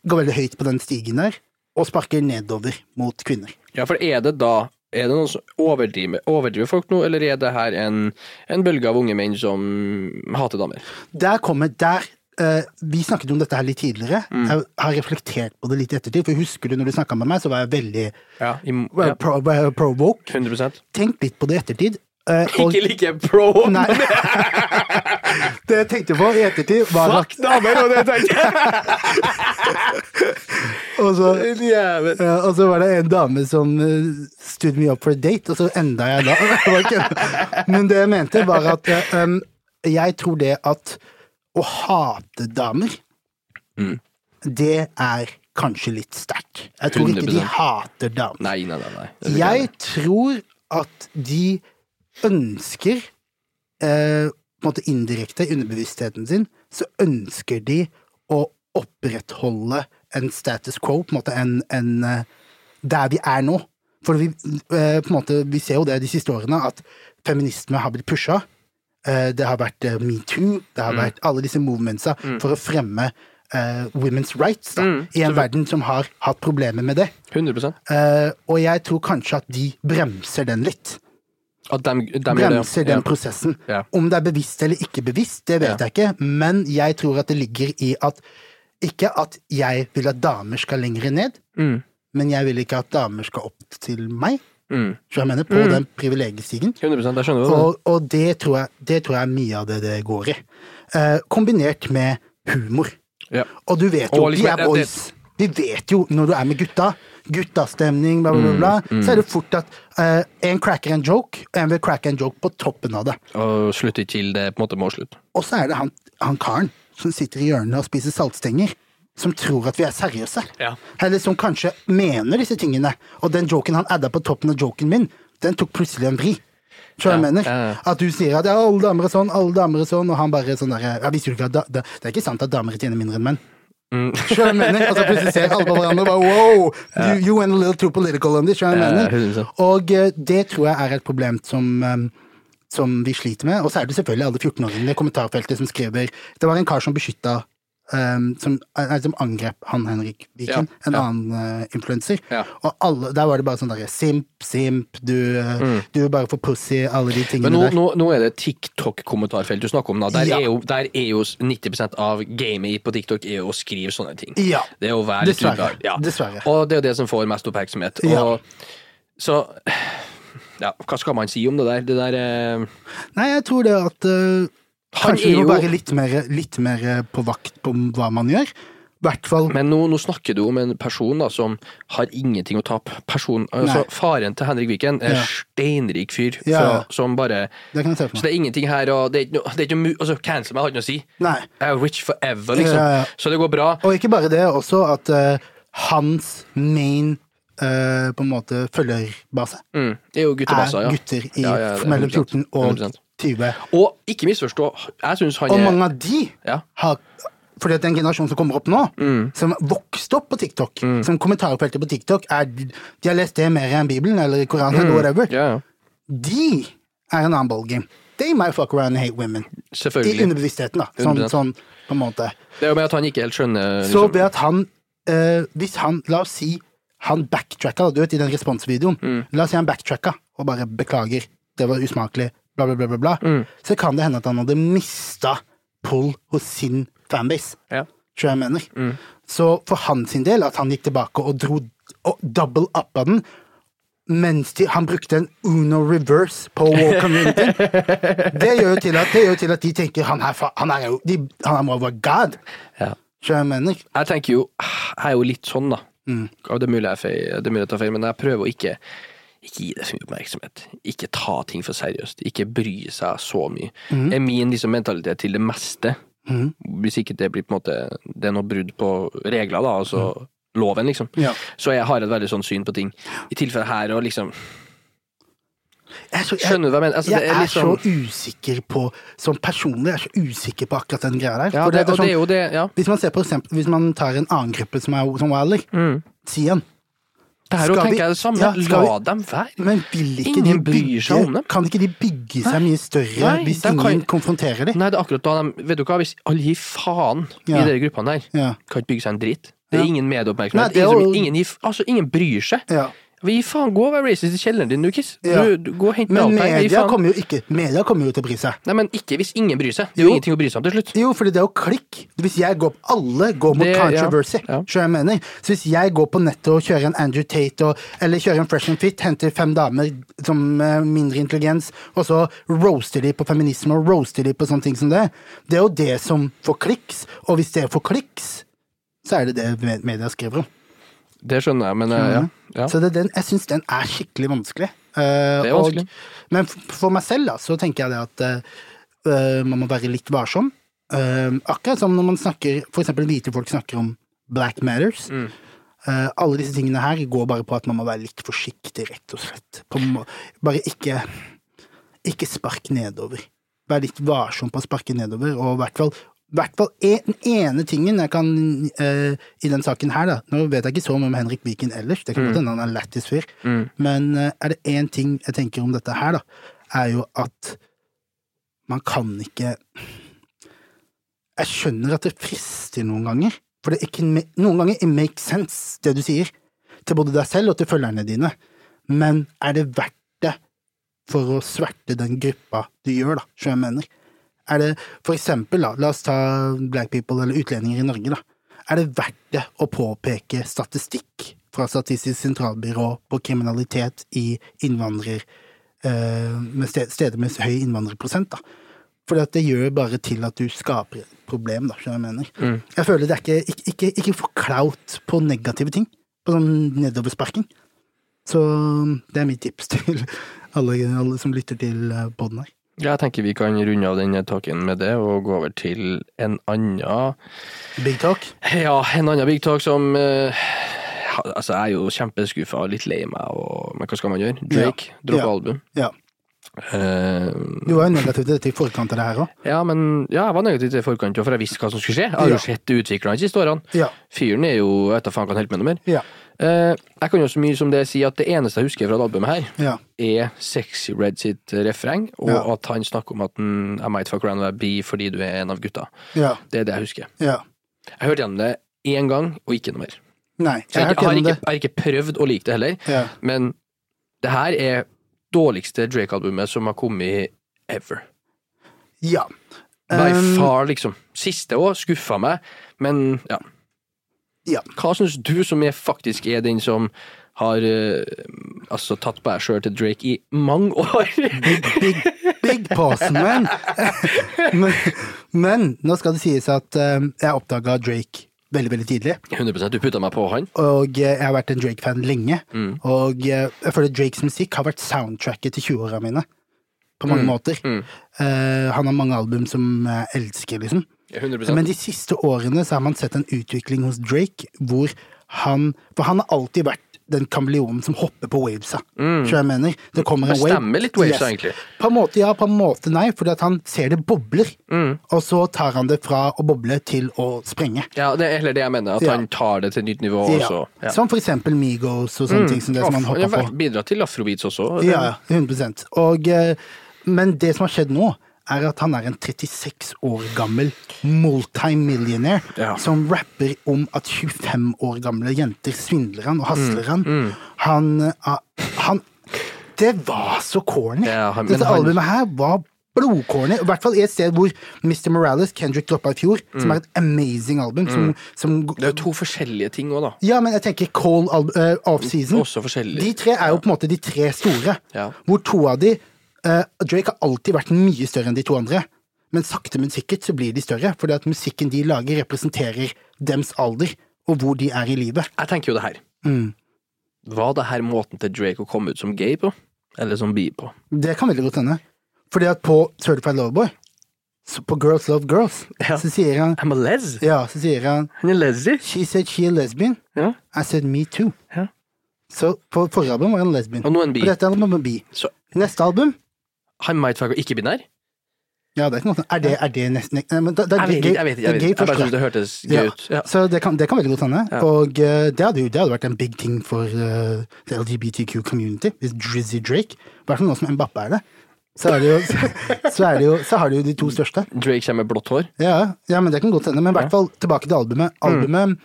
S2: går veldig høyt på den stigen der, og sparker nedover mot kvinner.
S1: Ja, for er det da er det noen som overdriver, overdriver folk nå, eller er det her en, en bølge av unge menn som hater damer?
S2: Der kommer der eh, Vi snakket om dette her litt tidligere.
S1: Mm.
S2: Jeg har reflektert på det litt i ettertid, for husker du når du snakka med meg, så var jeg veldig
S1: Ja, i,
S2: well,
S1: ja
S2: pro, well, pro-woke.
S1: 100
S2: Tenk litt på det i ettertid. eh, og-
S1: Ikke like pro!
S2: Nei. Det jeg tenkte på i ettertid, var at
S1: Fuck damer, og det tenkte jeg!
S2: og så,
S1: Din Jævel.
S2: Ja, og så var det en dame som eh, stood me up for a date, og så enda jeg da. Det var ikke- Men det jeg mente, var at eh, um, jeg tror det at å hate damer, det er kanskje litt sterkt. Jeg tror ikke de
S1: 100%.
S2: hater damer.
S1: Nei, nei, nei. nei. Det vil
S2: Jeg tror at de ønsker eh, på en måte indirekte i underbevisstheten sin, så ønsker de å opprettholde en status quo, på en måte en, en eh, der vi er nå. For vi, eh, på en måte, vi ser jo det de siste årene, at feminisme har blitt pusha. Eh, det har vært eh, metoo, det
S1: Mm.
S2: har vært alle disse movementsa for å fremme eh, women's rights da,
S1: Mm,
S2: i en verden som har hatt problemer med det.
S1: 100
S2: Eh, og jeg tror kanskje at de bremser den litt.
S1: At dem, dem gjør det, ja.
S2: Bremser den
S1: ja.
S2: prosessen.
S1: Ja.
S2: Om det er bevisst eller ikke bevisst, det vet
S1: Ja.
S2: jeg ikke, men jeg tror at det ligger i at Ikke at jeg vil at damer skal lenger ned,
S1: Mm.
S2: men jeg vil ikke at damer skal opp til meg.
S1: Mm.
S2: Så jeg mener på den privilegiestigen.
S1: 100 jeg skjønner hva du
S2: Og, og det, tror jeg, det tror jeg er mye av det det går i. Eh, kombinert med humor.
S1: Ja.
S2: Og du vet jo,
S1: Og liksom,
S2: vi er
S1: det- Mm,
S2: boys. Vi vet jo når du er med gutta, guttastemning, bla, bla, bla, bla så er det fort at eh, en cracker en joke, og en vil cracker en joke på toppen av det.
S1: Og slutte til det på en måte må slutte.
S2: Og så er det han, han karen som sitter i hjørnet og spiser saltstenger, som tror at vi er seriøse.
S1: Ja.
S2: Eller som kanskje mener disse tingene. Og den joken han adda på toppen av joken min, den tok plutselig en vri. Så
S1: Ja,
S2: jeg mener
S1: ja, ja.
S2: At du sier at ja, alle damer er sånn, alle damer er sånn, og han bare sånn derre ja, visste du ikke at da, da, Det er ikke sant at damer tjener mindre enn menn.
S1: Mm.
S2: Skjønner du hva jeg mener? Og så plutselig ser alle på hverandre og bare wow! You, you went a little too political on this. skjønner du hva
S1: Ja,
S2: jeg mener?
S1: 100%.
S2: Og eh, det tror jeg er et problem som eh, som vi sliter med. Og så er det selvfølgelig alle 14-åringene i kommentarfeltet som skriver Det var en kar som beskytta ehm, som, nei, som angrep han Henrik Viken,
S1: Ja,
S2: en
S1: ja.
S2: annen uh, influenser.
S1: Ja.
S2: Og alle, der var det bare sånn derre Simp, simp, du, eh, du er bare for pussy, alle de tingene
S1: Mm. Men nå,
S2: der.
S1: nå, nå er det TikTok-kommentarfelt du snakker om. Da. Der,
S2: Ja.
S1: er jo, der er jo 90 av gamet på TikTok er jo å skrive sånne ting.
S2: Ja.
S1: Det er å være litt
S2: Dessverre.
S1: ubehagelig. Ja.
S2: Dessverre.
S1: Og det er jo det som får mest oppmerksomhet. Og,
S2: Ja.
S1: Så ja, hva skal man si om det der? Det der eh,
S2: Nei, jeg tror det at eh,
S1: Han
S2: Kanskje vi
S1: er
S2: må
S1: jo-
S2: være litt mer, litt mer eh, på vakt på hva man gjør. I hvert fall
S1: Men nå, nå snakker du om en person da, som har ingenting å tape. Person, altså,
S2: Nei.
S1: faren til Henrik Viken er
S2: Ja.
S1: steinrik fyr
S2: Ja, ja.
S1: fra, som bare
S2: Det kan jeg se for
S1: Så
S2: meg.
S1: det er ingenting her, og det er ikke noe, det er ikke noe mu- altså, Cancel meg, jeg har ikke noe å si.
S2: Nei.
S1: Jeg er rich forever, liksom.
S2: Ja, ja.
S1: Så det går bra.
S2: Og ikke bare det, også at eh, hans main eh, på en måte følgerbase
S1: Mm. Det er jo
S2: er
S1: guttebassa, ja.
S2: gutter i,
S1: Ja, ja, det er
S2: mellom 14 og
S1: 100%.
S2: 20.
S1: Og ikke misforstå, jeg syns han
S2: Og
S1: er
S2: mange av de
S1: Ja. Mm.
S2: har fordi at den generasjonen som kommer opp nå, som vokste opp på TikTok, som kommentarfeltet på TikTok, er, de har lest det mer enn Bibelen eller Koranen eller whatever,
S1: Mm. Ja, ja.
S2: de er en annen ballgame. They might fuck around and hate women. I
S1: Selvfølgelig.
S2: underbevisstheten, da. Sånn,
S1: 100%.
S2: sånn på en måte.
S1: Det er jo med at han ikke helt skjønner
S2: Så
S1: liksom.
S2: ved at han eh, Hvis han, la oss si han backtracka, da, du vet, i den responsvideoen. La oss si han backtracka og bare beklager, det var usmakelig, bla, bla, bla, bla, bla. Så kan det hende at han hadde mista pull hos sin fanbase,
S1: Ja.
S2: tror jeg jeg mener. Så for han sin del, at han gikk tilbake og dro og double up av den, mens de, han brukte en Uno reverse på War Community, det gjør jo til at, det gjør jo til at de tenker han her, fa- han er jo de, han er over god,
S1: Ja.
S2: tror jeg jeg mener.
S1: Jeg tenker jo Jeg er jo litt sånn, da.
S2: Mm.
S1: Og Det er mulig jeg, er feil, det er mulig jeg tar feil, men jeg prøver å ikke ikke gi det så mye oppmerksomhet. Ikke ta ting for seriøst. Ikke bry seg så mye.
S2: Mm.
S1: Er min liksom, mentalitet til det meste. Hvis ikke det blir på en måte Det er noe brudd på regler, da, altså loven, liksom.
S2: Mm. Ja.
S1: Så jeg har et veldig sånn syn på ting. I tilfelle her og liksom
S2: Jeg er så, jeg,
S1: Skjønner du hva jeg mener? Altså,
S2: jeg
S1: det er
S2: er
S1: litt
S2: så
S1: sånn
S2: usikker på Som personlig jeg er så usikker på akkurat den greia der.
S1: ja,
S2: For
S1: det,
S2: det er
S1: Og det
S2: sånn-
S1: er jo det, ja.
S2: Hvis man, ser på eksempel, hvis man tar en annen gruppe som er som Wilder,
S1: Mm.
S2: Sian
S1: Det her
S2: Skal
S1: òg
S2: vi-
S1: tenker jeg det samme.
S2: ja, skal
S1: La dem være.
S2: Men vil ikke
S1: Ingen
S2: de
S1: bryr
S2: bygge
S1: seg om dem.
S2: Kan ikke de bygge seg mye større
S1: Nei,
S2: hvis
S1: da kan-
S2: ingen konfronterer dem?
S1: Nei, det er akkurat da de Vet du hva, hvis alle gir faen
S2: Ja.
S1: i de gruppene der,
S2: Ja.
S1: kan ikke bygge seg en dritt. Det er
S2: Ja.
S1: ingen
S2: Nei,
S1: medieoppmerksomhet.
S2: det er
S1: ingen,
S2: jo-
S1: som- ingen, gir- altså, ingen bryr seg.
S2: Ja.
S1: Vi gir faen, gå og vær racist i kjelleren din, du, Kiss.
S2: Ja.
S1: Du, du, gå og hent
S2: Men
S1: Alpine, gi
S2: media
S1: faen.
S2: kommer jo ikke Media kommer jo til å bry seg.
S1: Nei, men ikke hvis ingen bryr seg. Det er jo,
S2: Jo.
S1: ingenting å bry seg om til slutt.
S2: Jo, fordi det er jo klikk. Hvis jeg går Alle går mot
S1: Det- ja,
S2: controversy.
S1: ja.
S2: skjønner jeg mener. Så hvis jeg går på nettet og kjører en Andrew Tate og, eller kjører en Fresh and Fit, henter fem damer som eh, mindre intelligens, og så roaster de på feminisme og roaster de på sånne ting som det, det er jo det som får kliks. Og hvis det får kliks, så er det det med- media skriver om.
S1: Det skjønner jeg, men eh, ja. ja.
S2: Så det, er den, jeg syns den er skikkelig vanskelig. Eh,
S1: Det er vanskelig.
S2: Og, men f- for meg selv da, så tenker jeg det at eh, man må være litt varsom. Eh, akkurat som når man snakker, for eksempel hvite folk snakker om black matters.
S1: Mm.
S2: Eh, alle disse tingene her går bare på at man må være litt forsiktig, rett og slett. På, en må- bare ikke, ikke spark nedover. Vær litt varsom på å sparke nedover, og i hvert fall i hvert fall en- den ene tingen jeg kan eh, i den saken her, da Nå vet jeg ikke så mye om Henrik Viken ellers,
S1: Mm.
S2: det kan godt hende han er lættis fyr, men eh, er det én ting jeg tenker om dette her, da, er jo at man kan ikke jeg skjønner at det frister noen ganger. For det ikke, noen ganger it makes sense, det du sier, til både deg selv og til følgerne dine. Men er det verdt det for å sverte den gruppa du gjør, da, som jeg mener? Er det for eksempel, da, la oss ta black people eller utlendinger i Norge, da. Er det verdt det å påpeke statistikk fra Statistisk sentralbyrå på kriminalitet i innvandrer... eh, med sted, steder med høy innvandrerprosent, da. Fordi at det gjør bare til at du skaper et problem, da, skjønner du hva jeg mener. Jeg føler det er ikke, ikke, ikke, ikke forklaut på negative ting. På sånn nedoversparking. Så det er mitt tips til alle, alle som lytter til poden her.
S1: Jeg tenker vi kan runde av denne talken med det, og gå over til en annen
S2: Big talk.
S1: Ja, en annen big talk som eh, ja, Altså, jeg er jo kjempeskuffa og litt lei meg, og, men hva skal man gjøre? Drake
S2: Ja.
S1: dropper
S2: Ja.
S1: album.
S2: Ja.
S1: Eh,
S2: Du var jo negativ til dette i forkant av det her òg.
S1: ja, men ja, jeg var negativ til forkant, for jeg visste hva som skulle skje. Jeg har
S2: Ja.
S1: jo sett utviklerne de siste årene.
S2: Ja.
S1: Fyren er jo Jeg vet da faen hva han holder på med noe mer.
S2: Ja.
S1: Eh, jeg kan jo så mye som det si at det eneste jeg husker fra det albumet her,
S2: Ja.
S1: er Sexy Red sitt refreng, og
S2: Ja.
S1: at han snakker om at mm, I might fuck around with a bee fordi du er en av gutta.
S2: Ja.
S1: Det er det jeg husker.
S2: ja.
S1: Jeg hørte gjennom det én gang, og ikke noe mer.
S2: Nei,
S1: Så
S2: jeg
S1: jeg,
S2: har hørt
S1: har
S2: gjennom
S1: ikke,
S2: det.
S1: jeg har ikke prøvd å like det heller,
S2: Ja.
S1: men det her er dårligste Drake-albumet som har kommet ever.
S2: ja.
S1: By
S2: Um,
S1: far, liksom. Siste år skuffa meg, men ja.
S2: Ja.
S1: Hva syns du, som er faktisk er den som har eh, altså tatt på deg sjøl til Drake i mange år?
S2: Big, big pause, men, men Men nå skal det sies at eh, jeg oppdaga Drake veldig, veldig tidlig.
S1: 100 Du putta meg på han.
S2: Og eh, jeg har vært en Drake-fan lenge. Og eh, jeg føler Drakes musikk har vært soundtracket til 20-åra mine. På mange måter. Eh, han har mange album som jeg elsker, liksom.
S1: 100
S2: Men de siste årene så har man sett en utvikling hos Drake hvor han For han har alltid vært den kameleonen som hopper på wavesa. Mm. jeg mener. Det kommer en wave.
S1: Bestemmer litt wavesa, egentlig.
S2: På en måte ja, på en måte nei, fordi at han ser det bobler.
S1: Mm.
S2: Og så tar han det fra å boble til å sprenge.
S1: Ja, det er heller det jeg mener, at
S2: Ja.
S1: han tar det til nytt nivå også. Ja. Mm.
S2: Som for eksempel Migos og sånne ting som det som han hoppa på.
S1: Bidra til afrobeats også.
S2: Ja, ja, 100 og, eh, Men det som har skjedd nå, er at han er en 36 år gammel multimillionaire
S1: Ja.
S2: som rapper om at 25 år gamle jenter svindler han og
S1: Mm.
S2: hasler han. Han, eh, ah, han Det var så corny!
S1: Ja, han- men
S2: Dette
S1: han-
S2: albumet her var blodkårene. I hvert fall i et sted hvor Mr. Morales, Kendrick, droppa i fjor, som er et amazing album. Som, som,
S1: Mm. Det er jo to forskjellige ting òg, da.
S2: ja, men jeg tenker Call al- eh, Off-Season.
S1: Også forskjellig.
S2: De tre er jo på en måte de tre store.
S1: Ja.
S2: Hvor to av de eh, Drake har alltid vært mye større enn de to andre. Men sakte, men sikkert så blir de større, fordi at musikken de lager, representerer dems alder, og hvor de er i livet.
S1: Jeg tenker jo det her.
S2: Mm.
S1: Var det her måten til Drake å komme ut som gay på? Eller som bi på?
S2: Det kan veldig godt hende. Fordi at på Certified Loveboy, så på Girls Love Girls,
S1: Ja.
S2: så sier han
S1: I'm a les.
S2: Ja, så sier han
S1: Han er lesy.
S2: She said she a lesbian.
S1: Ja.
S2: I said me too.
S1: Ja.
S2: Så på forrige album var han lesbian.
S1: Og nå en bi.
S2: På dette albumet var han bi.
S1: Så
S2: Neste album
S1: han might være ikke-binær?
S2: Ja, det er ikke noe sånn. Er det, er det nesten Nei, men da, da,
S1: Jeg vet
S2: det er
S1: ikke.
S2: gay-
S1: Jeg vet ikke.
S2: det
S1: Jeg,
S2: er
S1: vet.
S2: gay
S1: ikke. jeg bare
S2: først,
S1: synes
S2: da.
S1: det hørtes
S2: Ja.
S1: gøy ut. Ja.
S2: Så det kan, det kan veldig godt hende.
S1: Ja.
S2: Og eh, det hadde jo det hadde vært en big ting for eh, the LGBTQ community hvis Drizzy Drake I hvert fall nå som Mbappe er det. Så, er det jo, så, er det jo, så har du jo de to største.
S1: Drake kommer med blått hår.
S2: Ja, ja, men det kan godt hende. Men i hvert fall tilbake til albumet.
S1: Mm.
S2: Albumet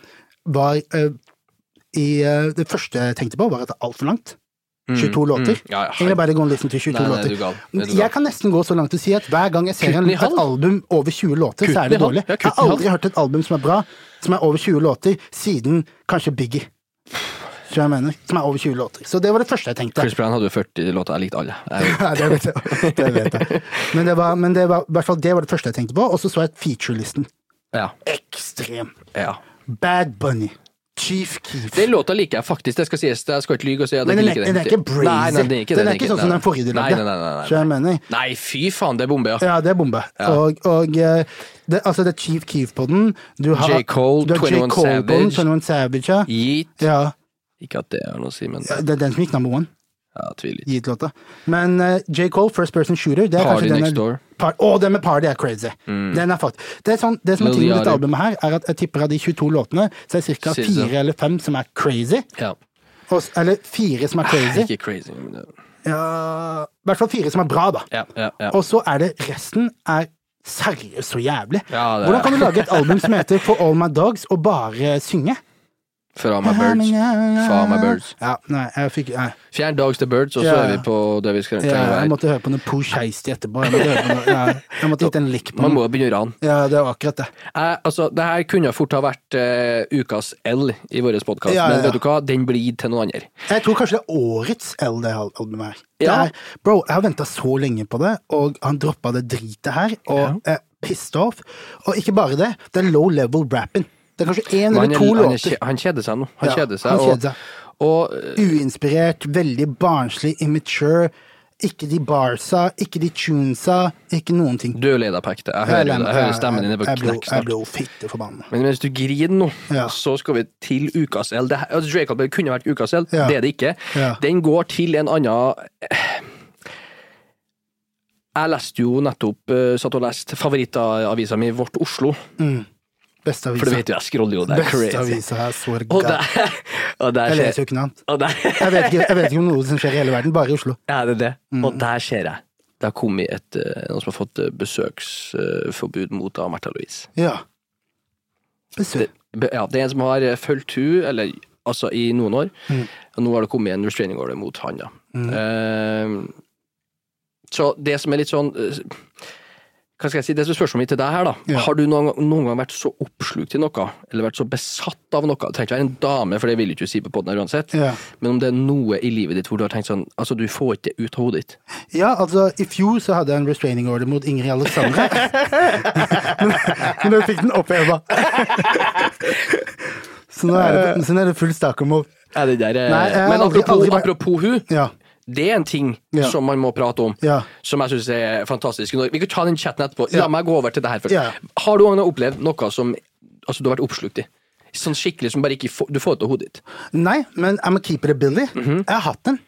S2: var eh, i eh, Det første jeg tenkte på, var at det er altfor langt. 22 låter.
S1: Mm. Ja, ja.
S2: Egentlig bare gå en listen til 22
S1: Nei, nei,
S2: låter.
S1: du er gal. Det er du gal.
S2: Jeg kan nesten gå så langt og si at hver gang jeg ser
S1: Kutten
S2: en,
S1: i
S2: et
S1: halv.
S2: album over 20 låter, så
S1: Kutten
S2: er det
S1: i halv.
S2: dårlig.
S1: Ja,
S2: Jeg har
S1: kutten i halv.
S2: aldri hørt et album som er bra, som er over 20 låter, siden kanskje Biggie. Som jeg mener. Som er over 20 låter. Så det var det første jeg tenkte.
S1: Chris Brown hadde jo 40 låter. Jeg likte alle. Jeg,
S2: Ja, det vet jeg. Det vet jeg. Men, det var, men det, var, i hvert fall det var det første jeg tenkte på. Og så så jeg featurelisten.
S1: ja.
S2: Ekstrem.
S1: ja.
S2: Bad Bunny. Chief Keef.
S1: Den låta liker jeg faktisk, det skal sies. Jeg skal ikke lyge og si at
S2: Men
S1: jeg
S2: den
S1: liker
S2: er, den er ikke brazy.
S1: Nei, nei, den er ikke,
S2: den er ikke sånn som
S1: nei.
S2: den forrige de lagde.
S1: Nei, nei, nei, nei,
S2: Så jeg mener.
S1: nei. nei, fy faen, det er bombe, ja.
S2: Ja, det er bombe. Og, og eh, det, altså, det er Chief Keef på den. Du har,
S1: J. Cole,
S2: du har
S1: 21
S2: Cole på den,
S1: Savage.
S2: 21 Savage. Ja.
S1: Yeet.
S2: ja.
S1: Ikke at det har noe å si, men
S2: Det er den som gikk number one.
S1: jeg tviler litt.
S2: Gitt-låta. Men eh, J. Cole, First Person Shooter det er
S1: Party
S2: kanskje den
S1: Next
S2: er-
S1: Door. Mm.
S2: Par Å, den med Party er crazy. Den er fakt. Det, er sånn, det som er
S1: Lil
S2: tingen med dette
S1: Yachty.
S2: albumet, her er at jeg tipper av de 22 låtene, så er det ca.
S1: Sizzle.
S2: fire eller fem som er crazy.
S1: Ja.
S2: Og, s- eller fire som er crazy.
S1: Ikke crazy, men det-
S2: Ja, I hvert fall fire som er bra, da.
S1: ja, ja, ja.
S2: Og så er det resten er seriøst så jævlig.
S1: Ja, det er-
S2: Hvordan kan du lage et album som heter For All My Dogs, og bare synge?
S1: For all my birds. For all my birds.
S2: Ja, nei, jeg fikk nei.
S1: Fjern Dogs the Birds, og så
S2: Ja.
S1: er vi på det vi skal
S2: Ja,
S1: trenger å
S2: jeg
S1: være.
S2: måtte høre på noe Pooh Heisty etterpå. Jeg måtte, høre på noe, ja, jeg måtte gitt en lick på
S1: Man
S2: den.
S1: må jo begynne å rane.
S2: Ja, det var akkurat det.
S1: Jeg, altså, det her kunne fort ha vært eh, ukas L i vår podkast,
S2: Ja, ja,
S1: men
S2: ja.
S1: vet du hva, den blir gitt til noen andre.
S2: Jeg tror kanskje det er årets L, det al- albumet her. Det
S1: Ja.
S2: er, bro, jeg har venta så lenge på det, og han droppa det dritet her, og jeg pissed off. Og ikke bare det, det er low level rapping. Det er kanskje én
S1: Men
S2: eller
S1: Han,
S2: to
S1: er- han, er
S2: låter.
S1: kje- han kjeder seg nå. Han
S2: Ja,
S1: kjeder seg.
S2: han
S1: og-
S2: kjeder seg.
S1: Og, eh,
S2: uinspirert, veldig barnslig, immature. Ikke de barsa, ikke de tunesa, ikke noen ting. eh,
S1: du er jo lei deg, Pekte. Jeg hører, det. jeg hører stemmen din er på
S2: Jeg ble-
S1: knekk
S2: Jeg
S1: snart.
S2: ble jo fitte forbanna.
S1: Men mens du griner nå,
S2: Ja.
S1: så skal vi til ukas L. Det her- altså, Drake Albert kunne vært ukas L,
S2: Ja.
S1: det er det ikke.
S2: Ja.
S1: Den går til en annen Jeg leste jo nettopp eh, satt og leste favorittavisa mi Vårt Oslo,
S2: Beste
S1: for du
S2: avisa.
S1: vet jo jeg scroller jo der.
S2: Beste
S1: Crazy.
S2: avisa her, swear
S1: Og
S2: god.
S1: der, og der
S2: Jeg
S1: ser
S2: leser jo ikke noe annet.
S1: og der,
S2: Jeg vet ikke, jeg vet ikke om noe som skjer i hele verden, bare i Oslo.
S1: Ja, det er det.
S2: Mm.
S1: Og der ser jeg. Det har kommet et, eh, noen som har fått eh, besøksforbud mot da Märtha Louise.
S2: Ja. Besøk.
S1: Be- Ja, det er en som har eh, fulgt hun, eller altså i noen år,
S2: Mm.
S1: og nå har det kommet en restraining order mot han, da. Eh, så det som er litt sånn eh, Hva skal jeg si, det som er spørsmålet mitt til deg her, da.
S2: Ja.
S1: Har du noen, gang- noen gang vært så oppslukt i noe, eller vært så besatt av noe? Det trenger ikke være en dame, for det vil du ikke si på podden her uansett,
S2: Ja.
S1: men om det er noe i livet ditt hvor du har tenkt sånn Altså, du får ikke det ut av hodet ditt.
S2: Ja, altså, i fjor så hadde jeg en restraining order mot Ingrid Alexandra. men, men jeg fikk den oppheva. så, nå er det- så nå er det full stakkermål.
S1: Ja, det der, er-
S2: Nei, jeg har
S1: men
S2: aldri-
S1: apropos,
S2: aldri vært-
S1: apropos hun,
S2: Ja.
S1: det er en ting
S2: Ja.
S1: som man må prate om,
S2: Ja.
S1: som jeg syns er fantastisk. Nå- Vi kan ta den chatten etterpå.
S2: Ja.
S1: La meg gå over til det her først.
S2: Ja.
S1: Har du også opplevd noe som altså, du har vært oppslukt i? Sånn skikkelig som bare ikke får, du får det til hodet ditt.
S2: Nei, men I'm a keeper it, Billy.
S1: Mhm.
S2: Jeg har hatt den.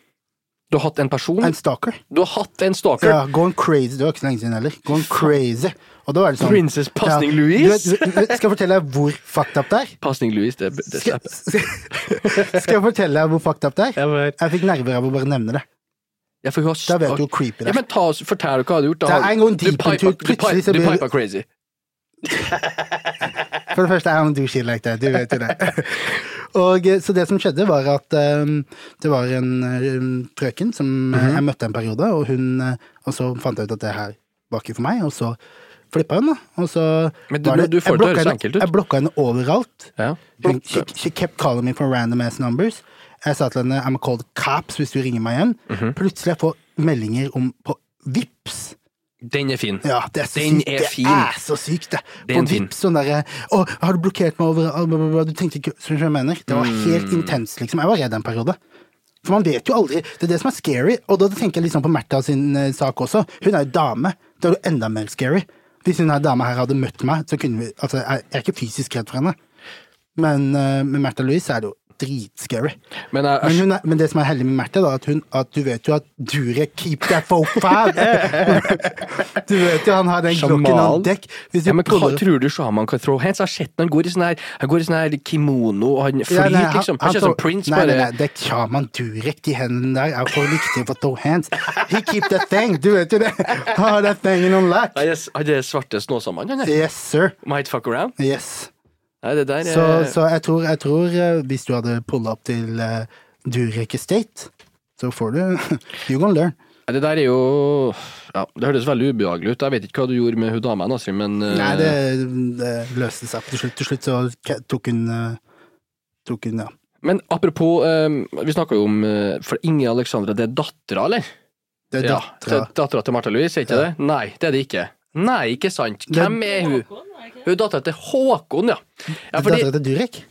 S1: Du har hatt en person,
S2: En stalker.
S1: du har hatt en stalker.
S2: Ja, going crazy. Det var ikke så lenge siden heller. Going crazy. Og da var det sånn
S1: Princess Pasning
S2: Ja.
S1: Louise?
S2: Du vet- du vet- Skal jeg fortelle deg hvor fucked up det er?
S1: Pasning Louis, det, det
S2: Skal,
S1: slipper jeg.
S2: skal jeg fortelle deg hvor fucked up det er?
S1: Jeg vet.
S2: Jeg fikk nerver av å bare nevne det.
S1: Ja, for hun har
S2: Da vet du
S1: stalk-
S2: hvor creepy det
S1: Ja,
S2: er.
S1: men ta oss, fortell hva du har gjort. Da.
S2: Det er
S1: har-
S2: en gang
S1: du
S2: deep
S1: pipa, du
S2: into-
S1: pipa,
S2: plutselig så
S1: du
S2: blir-
S1: pipa crazy.
S2: For det første, I don't do shit like that. Du vet jo det. Og eh, Så det som skjedde, var at eh, det var
S1: Mhm.
S2: en eh, frøken som eh, jeg møtte en periode, og hun eh, Og så fant jeg ut at det her tilbake for meg, og så flippa hun, da. Og så
S1: Men det-
S2: var
S1: du får det til
S2: jeg
S1: å
S2: blokka
S1: høres
S2: henne-
S1: enkelt ut.
S2: Jeg blokka henne overalt.
S1: Ja.
S2: She, she, she kept calling me for random ass numbers. Jeg sa til henne I'm called cops hvis du ringer meg igjen.
S1: Mhm.
S2: Plutselig jeg får meldinger om på Vips.
S1: Den er fin.
S2: Ja, det er så
S1: Den
S2: sykt.
S1: er
S2: det
S1: fin.
S2: er så sykt, det.
S1: Den
S2: På
S1: er fin.
S2: Vips sånn derre Å, har du blokkert meg over bla, bla, bla, Du tenkte ikke Skjønner du hva jeg mener? Det var helt
S1: Mm.
S2: intenst, liksom. Jeg var redd en periode. For man vet jo aldri. Det er det som er scary. Og da tenker jeg liksom på Märtha sin eh, sak også. Hun er jo dame. Det er jo enda mer scary. Hvis hun her dama her hadde møtt meg, så kunne vi Altså, jeg jeg er ikke fysisk redd for henne. Men eh, med Märtha Louise er det jo dritscary.
S1: Men eh, jeg,
S2: Men, hun er, men det som er heldig med Märtha, da, at, hun, at du vet jo at Durek keep that folk far. du vet jo han har den
S1: Sjaman.
S2: klokken han dekk. Hvis du
S1: ja, men hva
S2: puller-
S1: tror du sjaman kan throw hands? Jeg har sett han går i sånn her Han går i sånn her kimono, og han
S2: Ja,
S1: flyter,
S2: nei, han-
S1: liksom. Han
S2: han
S1: ser ut som
S2: tror-
S1: Prince,
S2: nei,
S1: bare.
S2: Nei, nei, det er sjaman Durek, de hendene der er for viktige for to hands. He keep that thing, du vet jo det. Han har that thing in on lock.
S1: Nei, det er- Han er svarte snåsamannen, han er.
S2: Yes, sir.
S1: Might fuck around.
S2: Yes.
S1: Nei, det der er
S2: Så, så jeg tror, jeg tror eh, hvis du hadde pulla opp til eh, Durek Estate, så får du You gonna learn.
S1: Nei, Det der er jo Ja, det hørtes veldig ubehagelig ut. Jeg vet ikke hva du gjorde med hun dama, Nasri, men eh,
S2: Nei, det, det løste seg til slutt. Til slutt så k- tok hun eh, Tok hun, ja.
S1: Men apropos, eh, vi snakka jo om eh, For Inger Alexandra, det er dattera, eller?
S2: Det er
S1: Ja,
S2: dattera.
S1: det er dattera til Martha Louise, er ikke det? Nei, det er det ikke. Nei, ikke sant.
S2: Det-
S1: Hvem er hun? Hun er dattera til Håkon, ja. ja
S2: Det er
S1: fordi,
S2: dattera til Durek.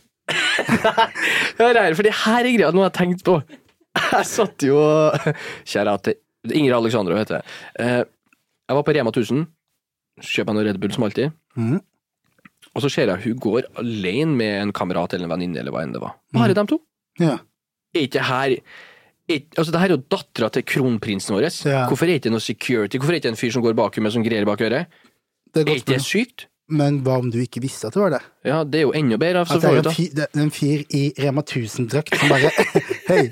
S1: hør her, fordi her er greia noe jeg har tenkt på. Jeg satt jo Kjære til Ingrid Alexandra, hun heter jeg. Eh, Jeg var på Rema 1000, kjøper meg noe Red Bull som alltid.
S2: Mhm.
S1: Og så ser jeg hun går alene med en kamerat eller en venninne eller hva enn det var.
S2: Mhm.
S1: Bare dem to.
S2: Ja.
S1: er ikke her er- Altså, det her er jo dattera til kronprinsen vår.
S2: Ja.
S1: Hvorfor er det ikke noe security? Hvorfor er det ikke en fyr som går bak henne med sånn greier bak øret?
S2: Det er
S1: Er
S2: godt
S1: ikke det
S2: spørsmål.
S1: sykt?
S2: Men hva om du ikke visste at det var det?
S1: Ja, det er jo enda bedre. Så
S2: At det
S1: får
S2: er
S1: vi
S2: en
S1: ta.
S2: fyr, det er en fyr i Rema 1000-drakt som bare Hei!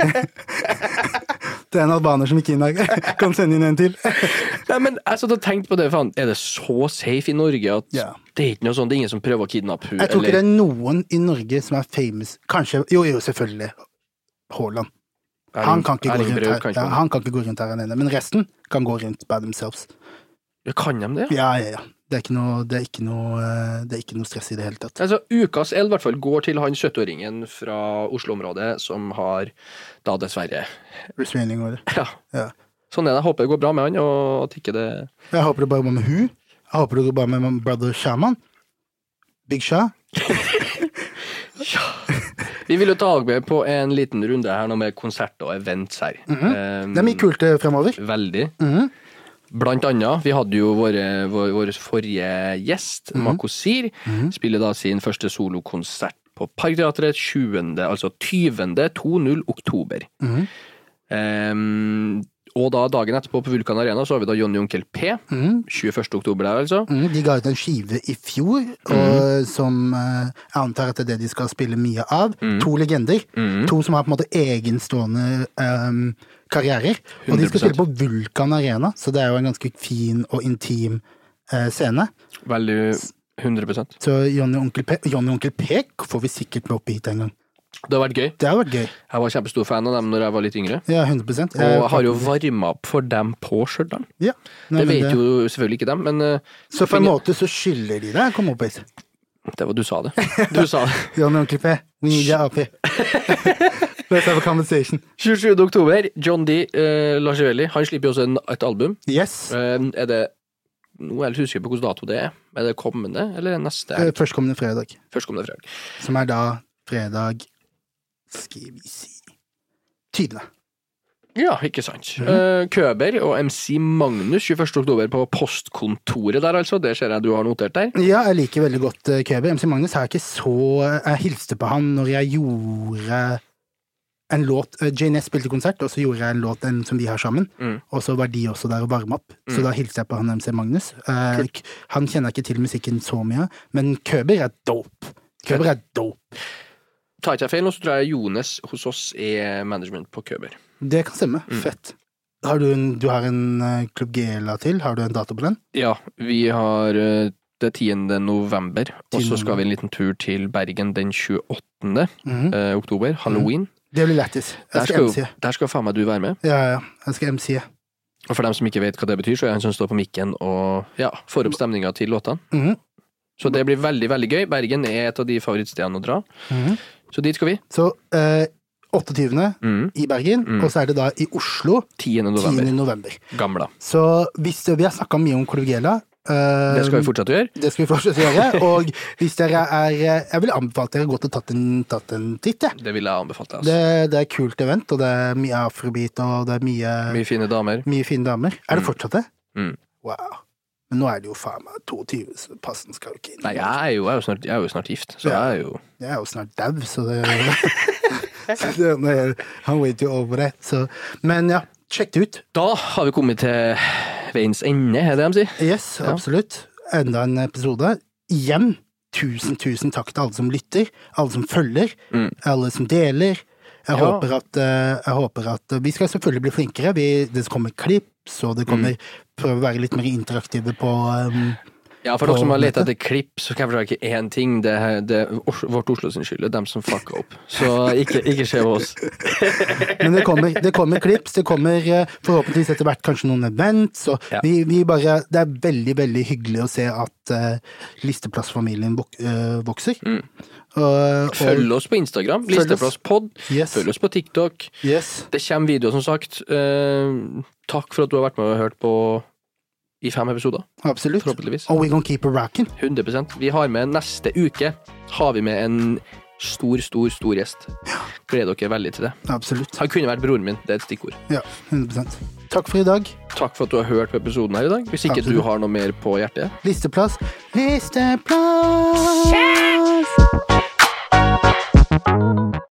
S2: Det er en albaner som gikk inn her. Kan sende inn en til.
S1: Nei, men jeg satt og tenkte på det, faen. Er det så safe i Norge at
S2: Ja.
S1: det er ikke noe sånt? Det er ingen som prøver å kidnappe henne?
S2: Jeg tror ikke det er noen i Norge som er famous Kanskje Jo, jo, selvfølgelig. Haaland. Han kan ikke gå rundt her, ja, han kan ikke gå rundt her alene. Men resten kan gå rundt by themselves.
S1: Ja, kan de det?
S2: Ja, ja, ja. Det er ikke noe, det er ikke noe, eh, det er ikke noe stress i det hele tatt.
S1: Altså, ukas L i hvert fall går til han 70-åringen fra Oslo-området som har da dessverre
S2: Restraining order.
S1: Ja.
S2: Ja.
S1: Sånn er det. Jeg håper det går bra med han, og at ikke det
S2: Jeg håper det bare var med hun. Jeg håper det går bare med min brother Shaman. Big Sha.
S1: Vi vil jo ta Agbe på en liten runde her nå med konsert og events her.
S2: Det er mye kult eh, fremover.
S1: Eh, veldig.
S2: Mhm.
S1: Blant annet, vi hadde jo våre, vår, vår forrige gjest,
S2: Mhm.
S1: Mako Sir, spiller da sin første solokonsert på Parkteatret 20., altså 20. 2.0 oktober.
S2: Mhm.
S1: Ehm, og da dagen etterpå på Vulkan Arena så har vi da Jonny Onkel P. 21. oktober der, altså.
S2: Mm, de ga ut en skive i fjor, og, som eh, jeg antar at det er det de skal spille mye av. To legender. To som har på en måte egenstående eh, karrierer. Og de
S1: 100%.
S2: skal spille på Vulkan Arena, så det er jo en ganske fin og intim eh, scene.
S1: Veldig 100
S2: Så Johnny og Onkel P, Johnny og Onkel P får vi sikkert med opp hit en gang.
S1: Det har vært gøy.
S2: Det hadde vært gøy.
S1: Jeg var kjempestor fan av dem når jeg var litt yngre.
S2: Ja,
S1: Og
S2: 100
S1: jeg har jo varma opp for dem på Stjørdal.
S2: ja. Nei,
S1: Det
S2: men
S1: vet jo selvfølgelig ikke dem, men eh,
S2: Så på en måte så skylder de deg å komme opp hit.
S1: Det var du sa det. Du sa det.
S2: Johnny og Onkel P, we need you up here. Let's have a conversation.
S1: 27. oktober, John D. Eh, Lars Ivelli. Han slipper jo også en, et album.
S2: Yes.
S1: Eh, er det Nå er jeg husker jeg på hvilken dato det er. Er det kommende eller neste?
S2: Eh, Førstkommende fredag.
S1: Førstkommende fredag.
S2: Som er da fredag Skal vi si 20.
S1: Ja, ikke sant. Eh, Køber og MC Magnus 21. oktober på Postkontoret der, altså. Det ser jeg du har notert der.
S2: Ja, jeg liker veldig godt eh, Køber. MC Magnus er ikke så eh, Jeg hilste på han når jeg gjorde en låt eh, Jane S spilte konsert, og så gjorde jeg en låt en, som vi har sammen.
S1: Mm.
S2: Og så var de også der og varma opp, så da hilste jeg på han MC Magnus. Eh, k- han kjenner jeg ikke til musikken så mye, men Køber er dope. Køber er dope.
S1: Tar ikke jeg feil nå, så tror jeg Jones hos oss er management på Køber.
S2: Det kan stemme. Fett. Har du, en, du har en eh, Club Gela til? Har du en dato på den?
S1: Ja, vi har eh, det 10. november, og
S2: 10.
S1: så skal vi en liten tur til Bergen den 28.
S2: Mhm.
S1: eh, oktober, halloween.
S2: Det blir lættis.
S1: Der
S2: Jeg skal
S1: skal,
S2: MC.
S1: der skal faen meg du være med.
S2: Ja, ja. Jeg skal MC.
S1: Og for dem som ikke vet hva det betyr, så er han som står på mikken og ja, får opp stemninga til låtene.
S2: Mhm.
S1: Så det blir veldig, veldig gøy. Bergen er et av de favorittstedene å dra.
S2: Mhm.
S1: Så dit skal vi.
S2: Så eh, 28.
S1: Mm.
S2: i Bergen,
S1: Mm.
S2: og så er det da i Oslo
S1: 10.
S2: 10.
S1: november.
S2: november.
S1: Gamla.
S2: Så hvis vi har snakka mye om Kologela eh,
S1: Det skal vi fortsatt gjøre.
S2: det skal vi fortsette å gjøre. Og hvis dere er Jeg vil anbefale dere å gå til tatt en, tatt en titt, jeg.
S1: Det ville jeg anbefalt deg.
S2: Det,
S1: Altså.
S2: det er et kult event, og det er mye afrobeat, og det er mye,
S1: Mye fine damer.
S2: mye fine damer. Er det fortsatt det?
S1: Mm.
S2: Wow. Men nå er det jo faen meg 22, så passen skal jo ikke inn.
S1: Nei, jeg er jo, jeg er jo, snart, jeg er jo snart gift, så
S2: Ja.
S1: jeg er jo
S2: Jeg er jo snart dau, så det så det- nei, Han wait jo over det. Så. Men ja, sjekk det ut.
S1: Da har vi kommet til veiens ende, er det de sier.
S2: Yes,
S1: Ja.
S2: absolutt. Enda en episode. Igjen, tusen, tusen takk til alle som lytter, alle som følger,
S1: Mm.
S2: alle som deler.
S1: Ja.
S2: Jeg, håper at, eh, jeg håper at Vi skal selvfølgelig bli flinkere. Vi, det kommer klips, og
S1: Mm.
S2: det kommer Prøve å være litt mer interaktive på um,
S1: Ja, for
S2: På
S1: dere som har lett
S2: nettet.
S1: etter klipp, så skal jeg forklare ikke én ting. Det er, det er Os- vårt Oslo sin skyld. Det er dem som fucka opp. Så ikke, ikke se på oss.
S2: Men det kommer, det kommer klips, det kommer eh, forhåpentligvis etter hvert kanskje noen event. Så
S1: Ja.
S2: vi, vi bare Det er veldig, veldig hyggelig å se at eh, listeplassfamilien vok, eh, vokser. Og- og-
S1: Mm. Følg oss på Instagram.
S2: Følg oss.
S1: Listeplasspod.
S2: Yes.
S1: Følg oss på TikTok.
S2: Yes.
S1: Det kommer videoer, som sagt. Eh, takk for at du har vært med og hørt på i fem episoder,
S2: Absolutt.
S1: forhåpentligvis.
S2: Og we gonna keep a rockin'.
S1: 100 Vi har med neste uke har vi med en stor, stor, stor gjest. Gleder dere veldig til det.
S2: Absolutt.
S1: Han kunne vært broren min, det er et stikkord.
S2: Ja, 100 Takk for i dag.
S1: Takk for at du har hørt på episoden her i dag. Hvis ikke
S2: Absolutt.
S1: du har noe mer på hjertet.
S2: Listeplass. Listeplass!